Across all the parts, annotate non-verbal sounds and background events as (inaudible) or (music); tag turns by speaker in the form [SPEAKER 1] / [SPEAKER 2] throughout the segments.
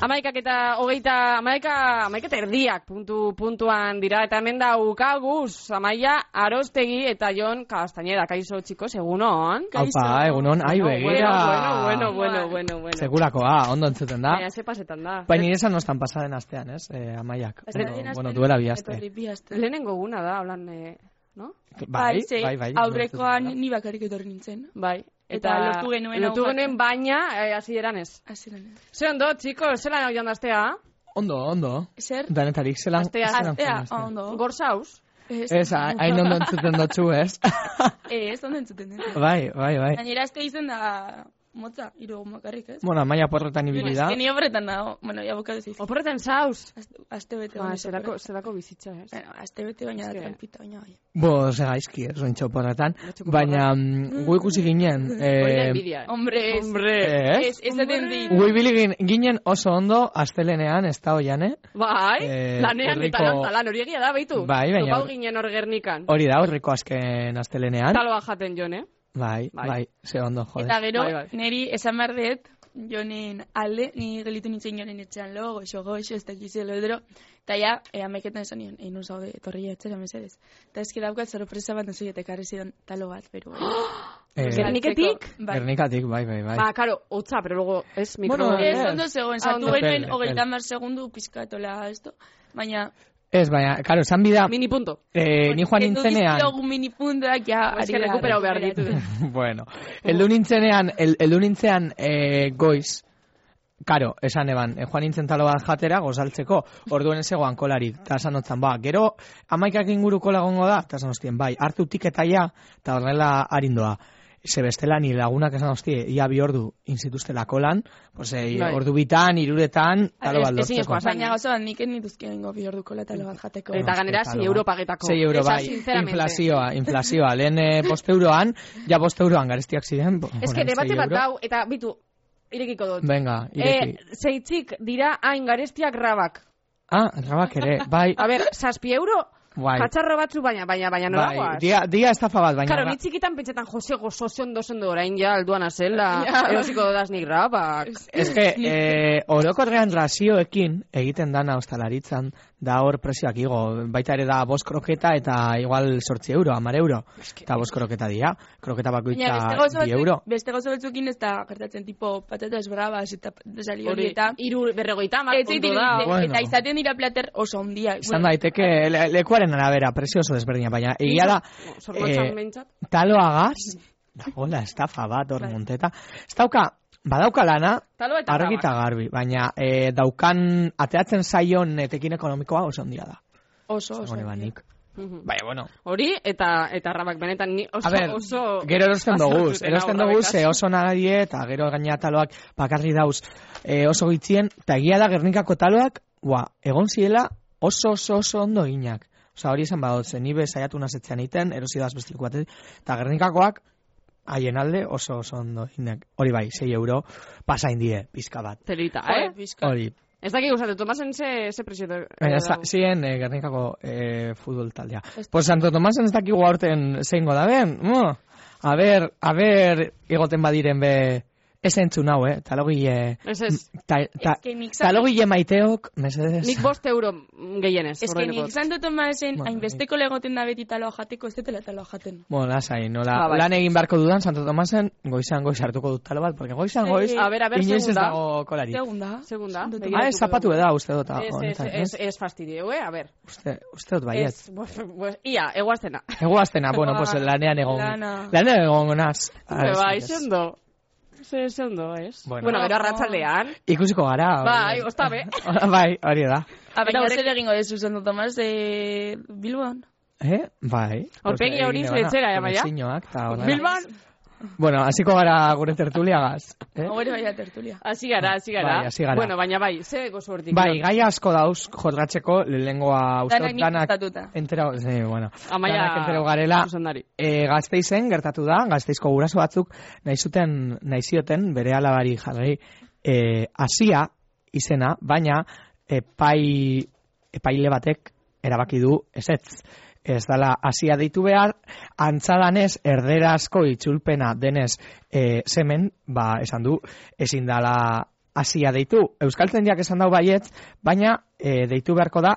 [SPEAKER 1] Amaikak eta hogeita, amaika, amaika eta erdiak puntu, puntuan dira, eta hemen daukaguz, Amaia Arostegi eta Jon Castañeda, kaixo, chicos, egunon?
[SPEAKER 2] Haupa, egunon, ai
[SPEAKER 1] Bueno,
[SPEAKER 2] begira.
[SPEAKER 1] Bueno, bueno, bueno, bueno, bueno.
[SPEAKER 2] Sekulakoa, ah, ondo entzuten da.
[SPEAKER 1] Baina, ze pasetan da.
[SPEAKER 2] Baina nire esan nostan pasaden astean, ez? Eh, amaiak. Ondo, bueno, duela bi aste.
[SPEAKER 3] Etorri bi aste.
[SPEAKER 1] Lehenengo guna da, holan, eh, no?
[SPEAKER 2] Bai,
[SPEAKER 3] ze
[SPEAKER 2] bai, bai.
[SPEAKER 3] Aurrekoan ni bakarrik etorri nintzen.
[SPEAKER 1] Bai.
[SPEAKER 4] Eta lotu genuen
[SPEAKER 1] lotu
[SPEAKER 4] hau bat.
[SPEAKER 1] genuen baina, eh, hasieran ez.
[SPEAKER 3] Hasieran ez.
[SPEAKER 1] Ze ondo, chicos, zelan hau jandaztea?
[SPEAKER 2] Ondo, ondo.
[SPEAKER 3] Zer?
[SPEAKER 2] Danetarik, zelan...
[SPEAKER 1] Astea,
[SPEAKER 2] zelan
[SPEAKER 3] Astea,
[SPEAKER 2] joan astea.
[SPEAKER 4] Oh.
[SPEAKER 3] ondo.
[SPEAKER 1] Gorsauz?
[SPEAKER 3] Ez,
[SPEAKER 2] Bai.
[SPEAKER 3] eh,
[SPEAKER 2] Ez, ah. ha- hain ondo entzuten dotzu, ez?
[SPEAKER 3] ez, ondo entzuten dut.
[SPEAKER 2] bai, bai, bai.
[SPEAKER 3] Gainera aste izen da motza, hiru egun bakarrik, ez?
[SPEAKER 2] Bueno, amaia porretan ibili da.
[SPEAKER 3] Ez que ni horretan dago, bueno, ja bukatu ziz.
[SPEAKER 1] Oporretan zauz?
[SPEAKER 3] Aste- Aste bete
[SPEAKER 1] Ba,
[SPEAKER 3] baino
[SPEAKER 1] zelako,
[SPEAKER 3] soporta.
[SPEAKER 1] zelako bizitza, ez?
[SPEAKER 4] Eh,
[SPEAKER 3] Bueno, aste bete baina
[SPEAKER 1] Ez
[SPEAKER 3] da
[SPEAKER 1] que-
[SPEAKER 3] trampita, baina bai.
[SPEAKER 2] Bo, ze gaizki, ez ointxo porretan.
[SPEAKER 1] Etxeko
[SPEAKER 2] Baina, mm, gu ikusi ginen...
[SPEAKER 1] Hori da
[SPEAKER 2] Eh,
[SPEAKER 1] enbidia.
[SPEAKER 3] Hombre, ez.
[SPEAKER 1] Hombre.
[SPEAKER 2] eh,
[SPEAKER 3] Ez, ez zaten dit.
[SPEAKER 2] Gu ibili gin- ginen oso ondo, astelenean, ez da hoian, eh?
[SPEAKER 1] Bai,
[SPEAKER 2] Eh,
[SPEAKER 1] lanean
[SPEAKER 2] herriko-
[SPEAKER 1] eta lantza, lan hori egia da, beitu.
[SPEAKER 2] Bai, baina-
[SPEAKER 1] Topau ginen hor gernikan.
[SPEAKER 2] Hori da, horriko azken astelenean.
[SPEAKER 1] Taloa jaten jon, eh?
[SPEAKER 2] Bai,
[SPEAKER 1] Bai.
[SPEAKER 2] bai, ze ondo, jode.
[SPEAKER 3] Eta gero,
[SPEAKER 1] Bai, bai.
[SPEAKER 3] neri esan behar dut, jonen alde, ni gelitu nintzen jonen etxean lo, goxo, goxo, ez dakiz elo edero, eta ja, e, amaiketan esan nion, egin zaude, etorri etxera mesedez. Eta ezki daukat sorpresa bat nazoiet ekarri zidan talo bat, pero...
[SPEAKER 1] (gasps)
[SPEAKER 2] Eh,
[SPEAKER 1] Gernik- Gerniketik?
[SPEAKER 3] Bai.
[SPEAKER 2] Gernikatik, bai, bai, bai.
[SPEAKER 1] Ba, karo, hotza, pero luego ez mikro.
[SPEAKER 2] Bueno,
[SPEAKER 3] Ez,
[SPEAKER 2] Eh,
[SPEAKER 3] ondo zegoen,
[SPEAKER 1] Ah, ondo.
[SPEAKER 3] sartu genuen,
[SPEAKER 2] Epel,
[SPEAKER 3] hogeita mar segundu pizkatola, esto, baina...
[SPEAKER 2] Ez, baina, karo, zan bida,
[SPEAKER 1] Mini punto.
[SPEAKER 2] eh, ni joan nintzenean,
[SPEAKER 3] Egun minipundak, ja,
[SPEAKER 1] Ba,
[SPEAKER 3] ari
[SPEAKER 1] eske recuperau behar
[SPEAKER 3] (laughs)
[SPEAKER 1] ditu.
[SPEAKER 2] (laughs) bueno, eldu nintzenean, el, eldu nintzean eh, goiz, karo, esan eban, eh, joan nintzen talo bat jatera gozaltzeko, orduen ez egoan kolarik, eta esan hotzan, ba, gero amaikak inguru kola gongo da, eta esan hostien, bai, hartu tiketaia, eta horrela harindoa. Ze bestela ni lagunak esan hostie, ia bi ordu inzituztela kolan, pues, eh,
[SPEAKER 1] Bai.
[SPEAKER 2] ordu bitan, iruretan, talo bat
[SPEAKER 1] Ez- ezin
[SPEAKER 2] lortzeko.
[SPEAKER 1] eskoa zan.
[SPEAKER 3] Baina gauza bat, nik ez nituzkeengo bihorduko latalo bat jateko.
[SPEAKER 1] Eta ganera, 6
[SPEAKER 2] Ospitalo bat.
[SPEAKER 1] euro pagetako.
[SPEAKER 2] 6 euro
[SPEAKER 1] Esa,
[SPEAKER 2] bai,
[SPEAKER 1] sinceramente.
[SPEAKER 2] inflazioa, inflazioa. Lehen eh, bost euroan, ja bost euroan garestiak ziren. bo-
[SPEAKER 1] Ez que
[SPEAKER 2] orain
[SPEAKER 1] debate
[SPEAKER 2] sei
[SPEAKER 1] bat
[SPEAKER 2] euro.
[SPEAKER 1] dau, eta bitu, irekiko dut.
[SPEAKER 2] Venga, ireki.
[SPEAKER 1] Eh, zeitzik dira hain garestiak rabak.
[SPEAKER 2] Ah, rabak ere,
[SPEAKER 1] (laughs)
[SPEAKER 2] bai,
[SPEAKER 1] A ber, saspi euro,
[SPEAKER 2] Bai.
[SPEAKER 1] katxarro batzu, baina, baina, baina
[SPEAKER 2] bai,
[SPEAKER 1] noragoaz.
[SPEAKER 2] dia, dia estafa bat, baina...
[SPEAKER 1] Karo,
[SPEAKER 2] ra-
[SPEAKER 1] ni txikitan pentsetan Jose gozo ondo ondo orain ja alduan
[SPEAKER 3] (laughs)
[SPEAKER 1] azela, erosiko dodaz nik rabak. (laughs)
[SPEAKER 2] Ez que, eh, orokorrean rasioekin egiten dana ostalaritzan, da hor presioak igo, baita ere da bost kroketa eta igual sortzi euro, amar euro, eta bost kroketa dia, kroketa
[SPEAKER 3] Baina beste
[SPEAKER 2] bakoitza
[SPEAKER 3] gauza
[SPEAKER 2] bi
[SPEAKER 3] batzuk,
[SPEAKER 2] euro.
[SPEAKER 3] beste gauza batzukin ez da gertatzen tipo patatas bravas eta desali hori
[SPEAKER 1] Hori,
[SPEAKER 3] eta
[SPEAKER 1] iru berregoita
[SPEAKER 3] Ez
[SPEAKER 1] mar,
[SPEAKER 3] zait
[SPEAKER 1] ondo
[SPEAKER 3] iruditzen,
[SPEAKER 1] da.
[SPEAKER 2] Bueno.
[SPEAKER 3] eta izaten dira plater oso handia.
[SPEAKER 2] Izan daiteke
[SPEAKER 3] eh,
[SPEAKER 2] le, lekuaren arabera, presio oso desberdina, baina egia da...
[SPEAKER 1] Zornotzan
[SPEAKER 2] eh,
[SPEAKER 1] mentzat.
[SPEAKER 2] taloagaz, dagoela estafa bat
[SPEAKER 3] Bai.
[SPEAKER 2] hor monteta. Ez dauka, badauka lana,
[SPEAKER 1] Taloa eta
[SPEAKER 2] argi eta
[SPEAKER 1] rabak.
[SPEAKER 2] garbi, baina eh, daukan, ateatzen zaion etekin ekonomikoa oso ondia da.
[SPEAKER 3] oso, oso.
[SPEAKER 2] Gure banik.
[SPEAKER 1] Mhm.
[SPEAKER 2] Baina, bueno.
[SPEAKER 1] Hori, eta eta rabak benetan ni oso,
[SPEAKER 2] A ber,
[SPEAKER 1] oso...
[SPEAKER 2] gero erosten dugu,
[SPEAKER 1] azartuten
[SPEAKER 2] erosten
[SPEAKER 1] hau,
[SPEAKER 2] dugu
[SPEAKER 1] rabekaz.
[SPEAKER 2] ze oso nagadie, eta gero gaina taloak bakarri dauz eh, oso gitzien, eta egia da Gernikako taloak, ua, egon ziela oso oso oso ondo eginak. Osa hori esan badot, zen ibe saiatu nazetzean egiten, erosi da azbestileku batetik, eta Gernikakoak haien alde oso oso ondo eginak. Hori bai, 6 euro pasain die, pizka bat.
[SPEAKER 1] Telita,
[SPEAKER 3] Joder,
[SPEAKER 1] eh?
[SPEAKER 3] pixka.
[SPEAKER 2] Hori.
[SPEAKER 1] Ez dakik gustatu, Tomasen ze, ze presio da.
[SPEAKER 2] Baina, ez da- ziren eh, Gernikako eh, futbol taldea.
[SPEAKER 3] Ez-
[SPEAKER 2] Pues Santo Tomasen ez dakigu aurten zeingo da ben. Mm. A ber, a ber, igoten badiren be... Ez entzun hau, eh? Talogile...
[SPEAKER 1] Ez ez.
[SPEAKER 2] Ta, ta,
[SPEAKER 3] Ez que nik zan-
[SPEAKER 2] talogile maiteok, mesedez.
[SPEAKER 1] Nik bost euro mm, gehienez.
[SPEAKER 3] Ez que
[SPEAKER 1] ordainduko
[SPEAKER 3] nik
[SPEAKER 1] dut.
[SPEAKER 3] Santo Tomasen
[SPEAKER 2] Bueno,
[SPEAKER 3] hainbesteko legoten da beti taloa jateko, ez dela taloa jaten.
[SPEAKER 2] Bueno, lasai, nola,
[SPEAKER 1] Ba, bai.
[SPEAKER 2] lan egin beharko dudan Santo Tomasen, goizan goiz hartuko dut talo bat, porque goizan goiz,
[SPEAKER 3] Eh,
[SPEAKER 1] a ber, a ber,
[SPEAKER 2] inoiz ez
[SPEAKER 1] segunda.
[SPEAKER 2] dago kolari.
[SPEAKER 3] Segunda.
[SPEAKER 1] Segunda,
[SPEAKER 3] Santo
[SPEAKER 1] begira.
[SPEAKER 2] Ah, ez zapatu eda, uste dut, ah,
[SPEAKER 1] Ez, ez,
[SPEAKER 2] honetan,
[SPEAKER 1] ez,
[SPEAKER 2] ez? Bai,
[SPEAKER 1] ez fastidio, eh? A ber.
[SPEAKER 2] Uste, uste dut baiet.
[SPEAKER 1] Ez, buf, buf, ia, eguaztena.
[SPEAKER 2] Egoaztena, bueno,
[SPEAKER 1] (laughs)
[SPEAKER 2] pues
[SPEAKER 3] Ba,
[SPEAKER 2] lanean egon.
[SPEAKER 3] lana.
[SPEAKER 2] Lanean egon naz. Ah,
[SPEAKER 1] Be,
[SPEAKER 2] ez,
[SPEAKER 1] bai,
[SPEAKER 2] ez.
[SPEAKER 1] ze ondo. Ze, ze ondo, ez?
[SPEAKER 2] Bueno.
[SPEAKER 1] Bueno, gero arratsaldean.
[SPEAKER 2] Ikusiko gara.
[SPEAKER 1] Bai,
[SPEAKER 2] hori.
[SPEAKER 1] oztabe.
[SPEAKER 2] bai, hori da.
[SPEAKER 3] A
[SPEAKER 1] Eta
[SPEAKER 3] baina
[SPEAKER 1] horrek-
[SPEAKER 3] zer egingo dezu Santo Tomas de Bilbon?
[SPEAKER 2] Eh? Bai.
[SPEAKER 1] Aurpegi hori
[SPEAKER 2] Egin debana,
[SPEAKER 1] zetzera, ja, baina.
[SPEAKER 2] komertzioak eta horrela.
[SPEAKER 1] Bilbon,
[SPEAKER 2] Bueno, hasiko gara gure tertuliagaz. Eh?
[SPEAKER 3] Hau ere bai da tertulia.
[SPEAKER 1] hasi gara, hasi gara.
[SPEAKER 2] Bai, hasi gara.
[SPEAKER 1] Bueno, baina bai, ze gozo hortik.
[SPEAKER 2] Bai, gai asko dauz jorratzeko, lehengoa uste
[SPEAKER 3] Danak
[SPEAKER 2] dut
[SPEAKER 3] nik
[SPEAKER 2] danak
[SPEAKER 3] gustatuta.
[SPEAKER 2] entera, ze, bueno,
[SPEAKER 1] Amaia-
[SPEAKER 2] danak entero garela,
[SPEAKER 1] Zuzendari.
[SPEAKER 2] e, gazteizen gertatu da, gazteizko guraso batzuk nahi zuten, nahi zioten bere alabari jarri e, asia izena, baina epai, epaile batek erabaki du ezetz. Ez dala asia deitu behar, antzadanez erderazko itzulpena denez e, semen, ba, esan du, ezin dala hasia deitu. Euskal Trendiak esan dau baietz, baina eh, deitu beharko da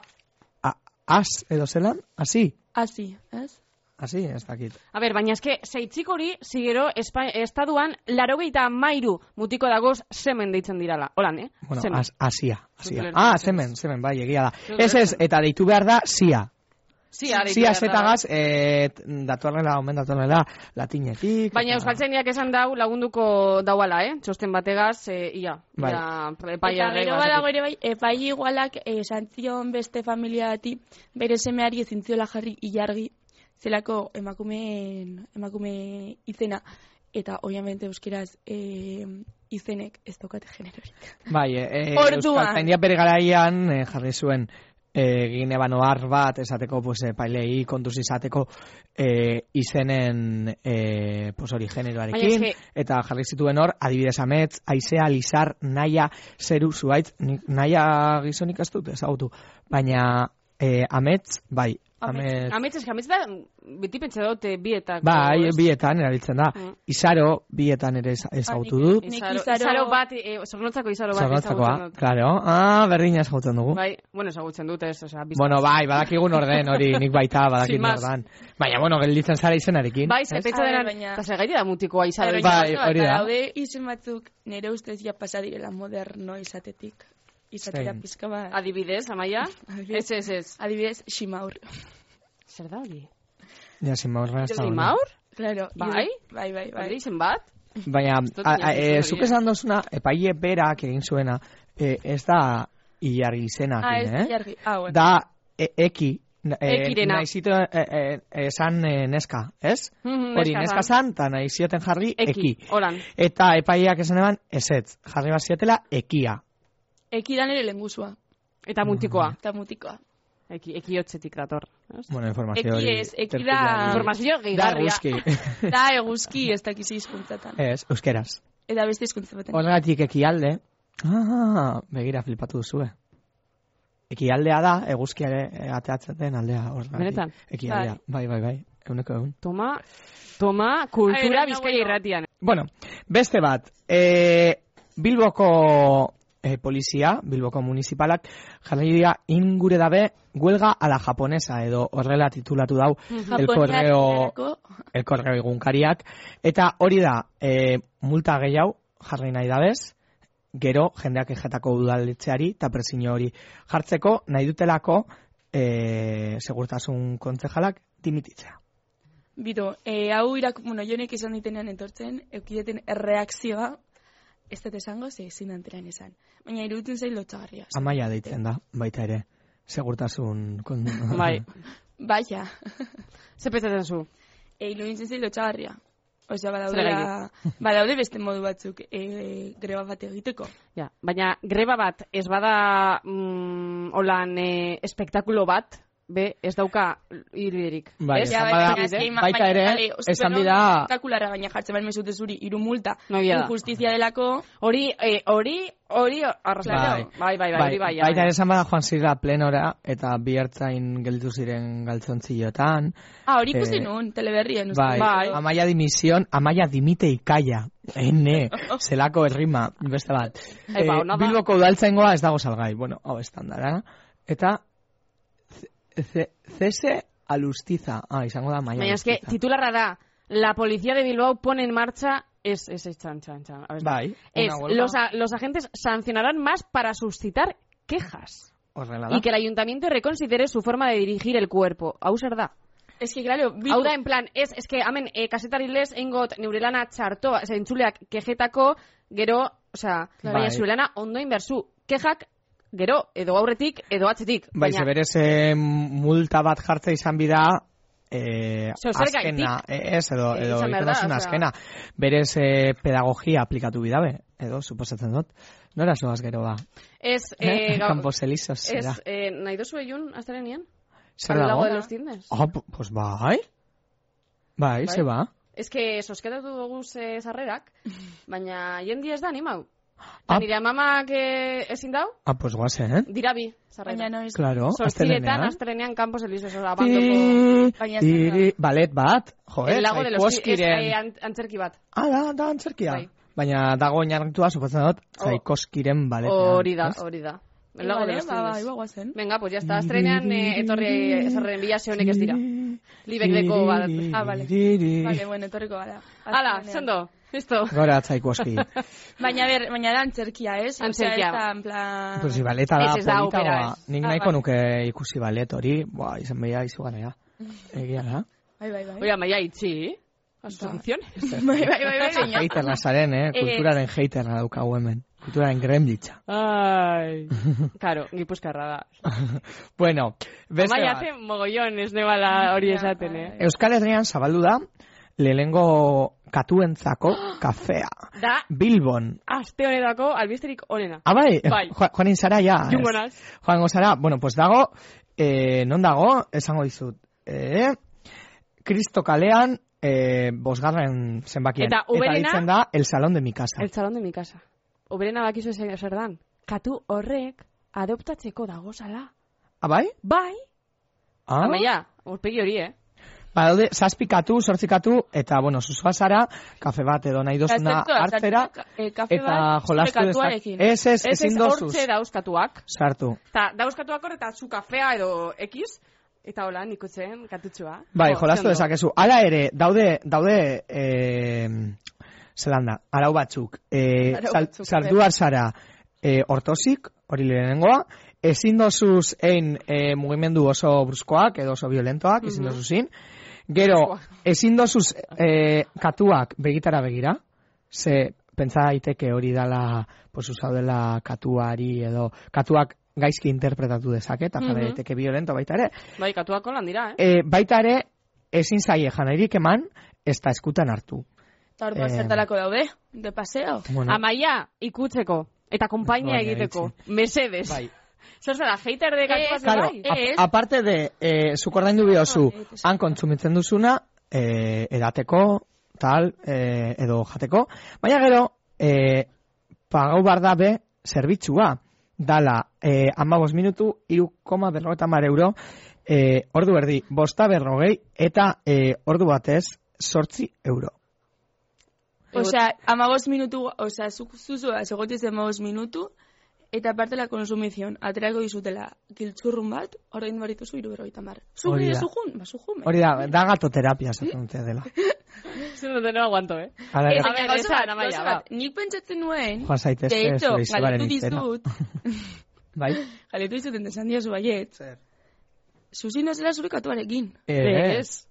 [SPEAKER 2] a, as edo zelan, hasi,
[SPEAKER 3] Así, ez?
[SPEAKER 2] hasi, ez dakit.
[SPEAKER 1] A ber, baina eske, zeitzik hori, zigero, Espa- estaduan, larogeita mairu mutiko dagoz semen deitzen dirala. Holan, eh?
[SPEAKER 2] Bueno,
[SPEAKER 1] Semen.
[SPEAKER 2] as, asia, asia.
[SPEAKER 1] Zuk
[SPEAKER 2] Ah,
[SPEAKER 1] ulertzen
[SPEAKER 2] semen, semen, bai, egia da.
[SPEAKER 1] Zuk
[SPEAKER 2] Ez ez,
[SPEAKER 1] ulertzen.
[SPEAKER 2] eta deitu behar da, sia.
[SPEAKER 1] Zia deitu
[SPEAKER 2] Sia
[SPEAKER 1] behar da.
[SPEAKER 2] zetagaz, eh, datorrela, omen datorrela, latinetik.
[SPEAKER 1] Baina
[SPEAKER 2] eta-
[SPEAKER 1] euskaltzainiak esan dau lagunduko dauala, eh? Txosten bategaz, eh, ia.
[SPEAKER 2] Bai.
[SPEAKER 1] Ia,
[SPEAKER 3] Eta gero badago
[SPEAKER 1] horregaz.
[SPEAKER 3] ere bai, epai igualak esantzion beste familia bati bere semeari ezin ziola jarri ilargi zelako emakumeen, emakume izena. Eta, obviamente, euskeraz eh, izenek ez daukate generorik.
[SPEAKER 2] Bai, e,
[SPEAKER 3] Orduan.
[SPEAKER 2] Euskaltzaindia bere garaian eh, jarri zuen e, gine banoar bat, esateko, pues, eh, pailei kontuz izateko eh, izenen eh, pues, hori generoarekin,
[SPEAKER 1] Baina eske-
[SPEAKER 2] eta jarri zituen hor, adibidez amets, aizea, lizar, naia, zeru, zuaitz, nik, naia gizonik ez dut ezagutu, baina eh, amets, bai, amets,
[SPEAKER 1] Amets, eske, amets da, beti pentsa dut, eh, bietako.
[SPEAKER 2] Bai,
[SPEAKER 1] ez?
[SPEAKER 2] bietan erabiltzen da.
[SPEAKER 1] Mm.
[SPEAKER 2] Izaro, bietan ere eza- ezagutu dut.
[SPEAKER 3] Nik
[SPEAKER 1] Izaro,
[SPEAKER 3] izaro-
[SPEAKER 1] izaro bat, eh, zornotzako izaro bat
[SPEAKER 2] Zorrotzakoa,
[SPEAKER 1] ezagutzen dut.
[SPEAKER 2] claro. Ah, berdina ezagutzen dugu.
[SPEAKER 1] Bai, bueno, ezagutzen dut, ez, osea, biztan.
[SPEAKER 2] Bueno, bai, badakigun orden hori, nik baita badakit
[SPEAKER 1] Sin más.
[SPEAKER 2] nordan. Baina, bueno, gelditzen zara izenarekin.
[SPEAKER 1] Bai, ze
[SPEAKER 2] ez?
[SPEAKER 1] pentsa
[SPEAKER 3] A ber,
[SPEAKER 1] denan,
[SPEAKER 3] baina-
[SPEAKER 1] eta ze gaiti da mutikoa izaro.
[SPEAKER 2] Bai, hori da.
[SPEAKER 3] Daude izen batzuk nire ustez ja pasa direla moderno izatetik. Izatera
[SPEAKER 2] Zein?
[SPEAKER 3] pizka bat.
[SPEAKER 1] Adibidez, amaia? Ez,
[SPEAKER 3] Adibidez.
[SPEAKER 1] ez, ez.
[SPEAKER 3] Adibidez, Ximaur.
[SPEAKER 1] Zer da hori?
[SPEAKER 2] Ja, sin maurra ez da
[SPEAKER 1] Jose
[SPEAKER 2] ona.
[SPEAKER 1] Maur?
[SPEAKER 3] (laughs) Claro.
[SPEAKER 1] Bai?
[SPEAKER 3] iru- Bai, bai,
[SPEAKER 1] Bale,
[SPEAKER 3] bai.
[SPEAKER 1] izen bat?
[SPEAKER 2] Baina,
[SPEAKER 1] dut
[SPEAKER 2] a-
[SPEAKER 1] inoiz
[SPEAKER 2] a- e,
[SPEAKER 1] entzun
[SPEAKER 2] zuk
[SPEAKER 1] hori, eh.
[SPEAKER 2] esan dozuna, epaile berak egin zuena, e, ez da ilargi izenak,
[SPEAKER 3] Ah, ez,
[SPEAKER 2] eh?
[SPEAKER 3] jargi. Ah, bueno.
[SPEAKER 2] Da, e, eki, na- e,
[SPEAKER 1] Ekirena.
[SPEAKER 2] naizito, e, e, esan e, neska, ez?
[SPEAKER 1] Mhm,
[SPEAKER 2] Hori,
[SPEAKER 1] neska
[SPEAKER 2] neska zan, eta nahi zioten jarri,
[SPEAKER 1] Eki, holan.
[SPEAKER 2] Eta epaileak esan eban, ezetz, jarri bat ziotela, ekia.
[SPEAKER 3] Ekidan ere lengusua.
[SPEAKER 2] Mm.
[SPEAKER 1] Eta mutikoa.
[SPEAKER 3] Eta mutikoa.
[SPEAKER 1] Eki, eki hotzetik dator. ez?
[SPEAKER 2] Bueno, informazio hori.
[SPEAKER 3] Eki ez, eki
[SPEAKER 2] tertulian.
[SPEAKER 3] da...
[SPEAKER 1] Informazio
[SPEAKER 2] Da,
[SPEAKER 1] gehigarria.
[SPEAKER 2] eguzki. (laughs)
[SPEAKER 3] Da eguzki ez dakizi hizkuntzatan.
[SPEAKER 2] ez, euskeraz.
[SPEAKER 3] Eta beste hizkuntza baten.
[SPEAKER 2] Horregatik ekialde. Ah, begira flipatu duzue. Ekialdea da, eguzkia ere ateatzen den aldea. Horregatik.
[SPEAKER 1] Benetan?
[SPEAKER 2] Ekialdea. Bai, bai, bai. Euneko egun.
[SPEAKER 1] Toma, toma, kultura
[SPEAKER 3] Ai, baina,
[SPEAKER 1] bizkaia
[SPEAKER 3] bueno.
[SPEAKER 1] irratian.
[SPEAKER 2] Bueno, beste bat. E, Bilboko e, polizia, Bilboko municipalak, jarri dira ingure dabe huelga a la japonesa, edo horrela titulatu dau
[SPEAKER 3] Mm-hmm.
[SPEAKER 2] el correo,
[SPEAKER 3] Japoniarako
[SPEAKER 2] el correo egunkariak. Eta hori da, e, multa gehiago jarri nahi dabez, gero jendeak ejetako udaletzeari eta presiño hori jartzeko nahi dutelako e, segurtasun kontzejalak dimititzea.
[SPEAKER 3] Biro, e, hau irak, bueno, jonek izan ditenean etortzen, eukideten erreakzioa, ez dut esango, ze ezin anteran esan. Baina iruditzen zain lotxagarria.
[SPEAKER 2] Amaia deitzen da, baita ere, segurtasun kon...
[SPEAKER 1] (laughs) Bai.
[SPEAKER 2] (laughs)
[SPEAKER 3] Baina, (laughs)
[SPEAKER 1] Ze pentsatzen zu?
[SPEAKER 3] e, iruditzen zain lotxagarria. Osea, badaudela,
[SPEAKER 1] Zergatik?
[SPEAKER 3] badaude beste modu batzuk e, greba bat egiteko.
[SPEAKER 1] Ja, baina greba bat ez bada mm, holan eh, espektakulo bat, be, ez dauka iruderik.
[SPEAKER 2] Bai,
[SPEAKER 1] ez?
[SPEAKER 2] esan
[SPEAKER 3] Ja,
[SPEAKER 2] bada-
[SPEAKER 3] baina azkein,
[SPEAKER 2] baita
[SPEAKER 3] baina,
[SPEAKER 2] ere,
[SPEAKER 3] bale, oso
[SPEAKER 2] esan
[SPEAKER 3] bero,
[SPEAKER 2] dira-
[SPEAKER 3] espektakularra, baina jartzen behar mesut zuri, iru multa,
[SPEAKER 1] No, egia da.
[SPEAKER 3] injustizia delako,
[SPEAKER 1] Hori, eh, hori, hori, arrasatzen. Bai, bai, bai, hori bai. ja,
[SPEAKER 2] baita ere esan bada joan zirela plenora eta bihartzain gelditu ziren galtzontzillotan.
[SPEAKER 3] ah, hori ikusi
[SPEAKER 2] Eh,
[SPEAKER 3] nun, teleberrien. uste
[SPEAKER 2] Bai,
[SPEAKER 3] dut.
[SPEAKER 1] Bai.
[SPEAKER 2] Amaia dimision, Amaia dimite ikaia.
[SPEAKER 1] (laughs)
[SPEAKER 2] Ene, zelako errima, beste bat.
[SPEAKER 1] Ai, ba, ona da.
[SPEAKER 2] Bilboko udaltzaingoa ez dago salgai. Bueno, hau estandara. Eta ce- ce- cese alustiza. Ah, izango da Amaia
[SPEAKER 1] Baina eske
[SPEAKER 2] alustiza.
[SPEAKER 1] titularra da La policía de Bilbao pone en marcha es es es, chan, chan, chan. A ver,
[SPEAKER 2] Bai,
[SPEAKER 1] es
[SPEAKER 2] una huelga.
[SPEAKER 1] los, a- los agentes sancionarán más para suscitar quejas
[SPEAKER 2] Horrela da.
[SPEAKER 1] y que el ayuntamiento reconsidere su forma de dirigir el cuerpo. Hau zer da?
[SPEAKER 3] Es que, claro, Bilbo-
[SPEAKER 1] Hau da, en plan, ez, eske, amen, e, kasetari lez, engot, neure lana txartoa, ose, entzuleak kejetako, gero, osea,
[SPEAKER 2] Bai.
[SPEAKER 1] baina zure lana ondo inberzu, kejak, gero, edo aurretik, edo atzetik.
[SPEAKER 2] Bai,
[SPEAKER 1] baina,
[SPEAKER 2] zeberez eh, multa bat jartza izan bida eh,
[SPEAKER 1] Zeo zer
[SPEAKER 2] azkena, eh, ez, edo,
[SPEAKER 1] Eh,
[SPEAKER 2] edo
[SPEAKER 1] izan behar da,
[SPEAKER 2] ikonosun
[SPEAKER 1] osea.
[SPEAKER 2] azkena. Berez eh, pedagogia aplikatu bidabe, edo, suposatzen dut. Nora zoaz gero ba?
[SPEAKER 1] ez,
[SPEAKER 2] Eh, (laughs)
[SPEAKER 1] e,
[SPEAKER 2] Campos Elíseos,
[SPEAKER 1] ez,
[SPEAKER 2] zera.
[SPEAKER 1] e, nahi dozu eiun, azterenian?
[SPEAKER 2] Zer
[SPEAKER 1] Al
[SPEAKER 2] dago?
[SPEAKER 1] lago de los cisnes.
[SPEAKER 2] Ah, pu- pues bai. Bai, ze ba.
[SPEAKER 1] Ez que sosketatu dugu ze
[SPEAKER 3] (laughs)
[SPEAKER 1] zarrerak, baina jendi ez da animau.
[SPEAKER 2] Ah.
[SPEAKER 1] Ah. Nire amamak eh, ezin dau,
[SPEAKER 2] Ah, pues guazen, eh?
[SPEAKER 1] dira bi
[SPEAKER 3] baina
[SPEAKER 1] zarrerak.
[SPEAKER 3] noiz,
[SPEAKER 2] Claro,
[SPEAKER 1] Zortziretan,
[SPEAKER 2] Oh, astelenean. Eh,
[SPEAKER 1] astrenean, Campos Elizos, oza, bandoko...
[SPEAKER 2] Ti,
[SPEAKER 3] Baina ez
[SPEAKER 2] tiri, balet bat, jo, eh?
[SPEAKER 1] El lago de los Cis- ez,
[SPEAKER 2] Zaikuoskiren.
[SPEAKER 1] eh, ant- antzerki bat.
[SPEAKER 2] Ah, da, da, antzerkia.
[SPEAKER 1] Bai.
[SPEAKER 2] baina dago oinarritua, suposatzen dut,
[SPEAKER 1] Oh.
[SPEAKER 2] zaikoskiren baletean.
[SPEAKER 1] Hori da,
[SPEAKER 2] ez?
[SPEAKER 1] hori da. El lago de
[SPEAKER 3] Bale,
[SPEAKER 1] los
[SPEAKER 3] ba, ba,
[SPEAKER 1] tigres.
[SPEAKER 3] iba guazen.
[SPEAKER 1] Venga, pues ya está. Estrenean eh, etorri esarren bila ze honek ez
[SPEAKER 3] (laughs)
[SPEAKER 1] dira. Libek deko bat.
[SPEAKER 3] Ah, vale. Bale, bueno, etorriko gara.
[SPEAKER 1] Hala,
[SPEAKER 3] Azkenean.
[SPEAKER 1] sendo. Listo.
[SPEAKER 2] Gora zaikoski.
[SPEAKER 1] (laughs)
[SPEAKER 3] Baina, ber, baina da antzerkia, ez?
[SPEAKER 1] Antzerkia.
[SPEAKER 3] Osea, ez da, en plan...
[SPEAKER 2] Pues bai. si baleta da,
[SPEAKER 1] Ez, ez da
[SPEAKER 2] polita,
[SPEAKER 1] opera,
[SPEAKER 2] ba,
[SPEAKER 1] ez.
[SPEAKER 2] nik
[SPEAKER 1] Ah,
[SPEAKER 2] nahiko
[SPEAKER 1] vale.
[SPEAKER 2] nuke ikusi balet hori, ba, izan behia
[SPEAKER 1] (laughs)
[SPEAKER 2] izugarria. Egia da.
[SPEAKER 3] Bai, bai, bai.
[SPEAKER 1] Oia, maia itxi.
[SPEAKER 3] Ba.
[SPEAKER 1] Asunciones.
[SPEAKER 3] Bai, bai, bai, bai, baina-
[SPEAKER 2] Haterra zaren,
[SPEAKER 1] (laughs)
[SPEAKER 2] eh? Kulturaren haterra daukagu hemen. Kulturaren gremlitza. (laughs)
[SPEAKER 1] Ai. Karo, gipuzkarra da.
[SPEAKER 2] Bueno, beste
[SPEAKER 1] Maia
[SPEAKER 2] bat.
[SPEAKER 1] hace mogollon ez nebala hori
[SPEAKER 3] Ja,
[SPEAKER 1] esaten,
[SPEAKER 3] bai.
[SPEAKER 1] eh?
[SPEAKER 2] Euskal Herrian zabaldu da, lehengo katuentzako
[SPEAKER 1] (gasps)
[SPEAKER 2] kafea.
[SPEAKER 3] bai.
[SPEAKER 1] Da,
[SPEAKER 2] Bilbon.
[SPEAKER 1] aste honetako albisterik onena.
[SPEAKER 2] Ah, bai,
[SPEAKER 1] Bai.
[SPEAKER 2] Jo- joanin zara ja.
[SPEAKER 1] Jungo
[SPEAKER 2] ez?
[SPEAKER 1] naz.
[SPEAKER 2] Joango zara, bueno, pues dago, eh, non dago, esango dizut, eh, Kristo kalean, eh, bosgarren zenbakien.
[SPEAKER 1] Eta hoberena-
[SPEAKER 2] deitzen da, el salón de mi casa.
[SPEAKER 1] El salón de mi casa. Oberena bakizu zer zer dan. Katu horrek adoptatzeko dagozala.
[SPEAKER 2] Ah, bai?
[SPEAKER 1] Bai.
[SPEAKER 2] Ah,
[SPEAKER 1] Amaia, urpegi hori, eh?
[SPEAKER 2] badaude, zazpikatu, sortzikatu, eta, bueno, susua zara, kafe bat edo nahi dozuna
[SPEAKER 3] Eta ez dut,
[SPEAKER 2] hartzera,
[SPEAKER 3] sartuta ka- eh, kafe
[SPEAKER 2] eta
[SPEAKER 3] bat
[SPEAKER 2] jolastu
[SPEAKER 3] zure
[SPEAKER 2] dezak-
[SPEAKER 3] katuarekin.
[SPEAKER 2] Ez, ez,
[SPEAKER 1] Ez ez
[SPEAKER 2] ezin dozuz.
[SPEAKER 1] hortze dauzkatuak.
[SPEAKER 2] Sartu.
[SPEAKER 1] Eta dauzkatuak hor eta zu kafea edo ekiz. Eta hola, nik eh, utzen katutxua.
[SPEAKER 2] Bai,
[SPEAKER 1] Jo,
[SPEAKER 2] jolastu
[SPEAKER 1] ze ondo.
[SPEAKER 2] dezakezu. Hala ere, daude, daude, eh, zelan da, arau batzuk. Eh,
[SPEAKER 3] Arau
[SPEAKER 2] sal-
[SPEAKER 3] batzuk,
[SPEAKER 2] sartu behar zara eh, ortozik, hori lehenengoa, ezin dozuz ein eh, mugimendu oso bruskoak edo oso violentoak, ezin dozuz in. Gero, ezin dozuz eh, katuak begitara begira, ze pentsa daiteke hori dala, pues usaudela katuari edo, katuak gaizki interpretatu dezake, eta jade
[SPEAKER 1] Mhm.
[SPEAKER 2] daiteke violento baita ere.
[SPEAKER 1] Bai, katuak holan dira, eh?
[SPEAKER 2] E, baita ere, ezin zaie janairik eman, ez da eskutan hartu.
[SPEAKER 3] Eta orduan
[SPEAKER 2] Eh,
[SPEAKER 3] zertarako daude, de paseo.
[SPEAKER 2] Bueno,
[SPEAKER 1] Amaia, ikutzeko. Eta kompainia
[SPEAKER 2] Baina
[SPEAKER 1] egiteko. Mesedes.
[SPEAKER 2] bai.
[SPEAKER 1] Zer zara, hater de katuak
[SPEAKER 3] Eh,
[SPEAKER 2] Claro,
[SPEAKER 1] bai?
[SPEAKER 2] a-
[SPEAKER 3] ez.
[SPEAKER 2] aparte de, eh, zuk ordaindu biozu, han kontsumitzen duzuna, eh, edateko, tal, eh, edo jateko, baina gero, eh, pagau bar dabe, zerbitzua, dala, eh, amabos minutu, iru koma berrogeta mar euro, eh, ordu erdi, bosta berrogei, eta eh, ordu batez, sortzi euro.
[SPEAKER 3] Osea, amabos minutu, osea, zuk zuzua segotiz amabos minutu, eta aparte la konsumizion, aterako dizutela, giltzurrun bat, orain barituzu iruberoita mar. Zuk
[SPEAKER 2] Hori
[SPEAKER 3] nire
[SPEAKER 2] da.
[SPEAKER 3] zujun, ba, zujun.
[SPEAKER 2] Hori da, da gatoterapia, esaten dute dela.
[SPEAKER 1] Zer dut, no aguanto, eh?
[SPEAKER 2] Hala
[SPEAKER 3] Ez,
[SPEAKER 2] ere,
[SPEAKER 1] A
[SPEAKER 3] baina
[SPEAKER 1] ver,
[SPEAKER 3] gauza
[SPEAKER 1] esan,
[SPEAKER 3] bat,
[SPEAKER 1] Amaia,
[SPEAKER 3] gauza
[SPEAKER 1] ba.
[SPEAKER 3] bat, nik pentsatzen nuen,
[SPEAKER 2] Joan zaitezte,
[SPEAKER 3] de hecho,
[SPEAKER 2] zure izebaren
[SPEAKER 3] galetu
[SPEAKER 2] izena.
[SPEAKER 3] dizut,
[SPEAKER 2] Bai.
[SPEAKER 3] galetu dizut, entesan diozu baiet, zuzin nazela zure katuarekin.
[SPEAKER 2] Eh,
[SPEAKER 1] Ez.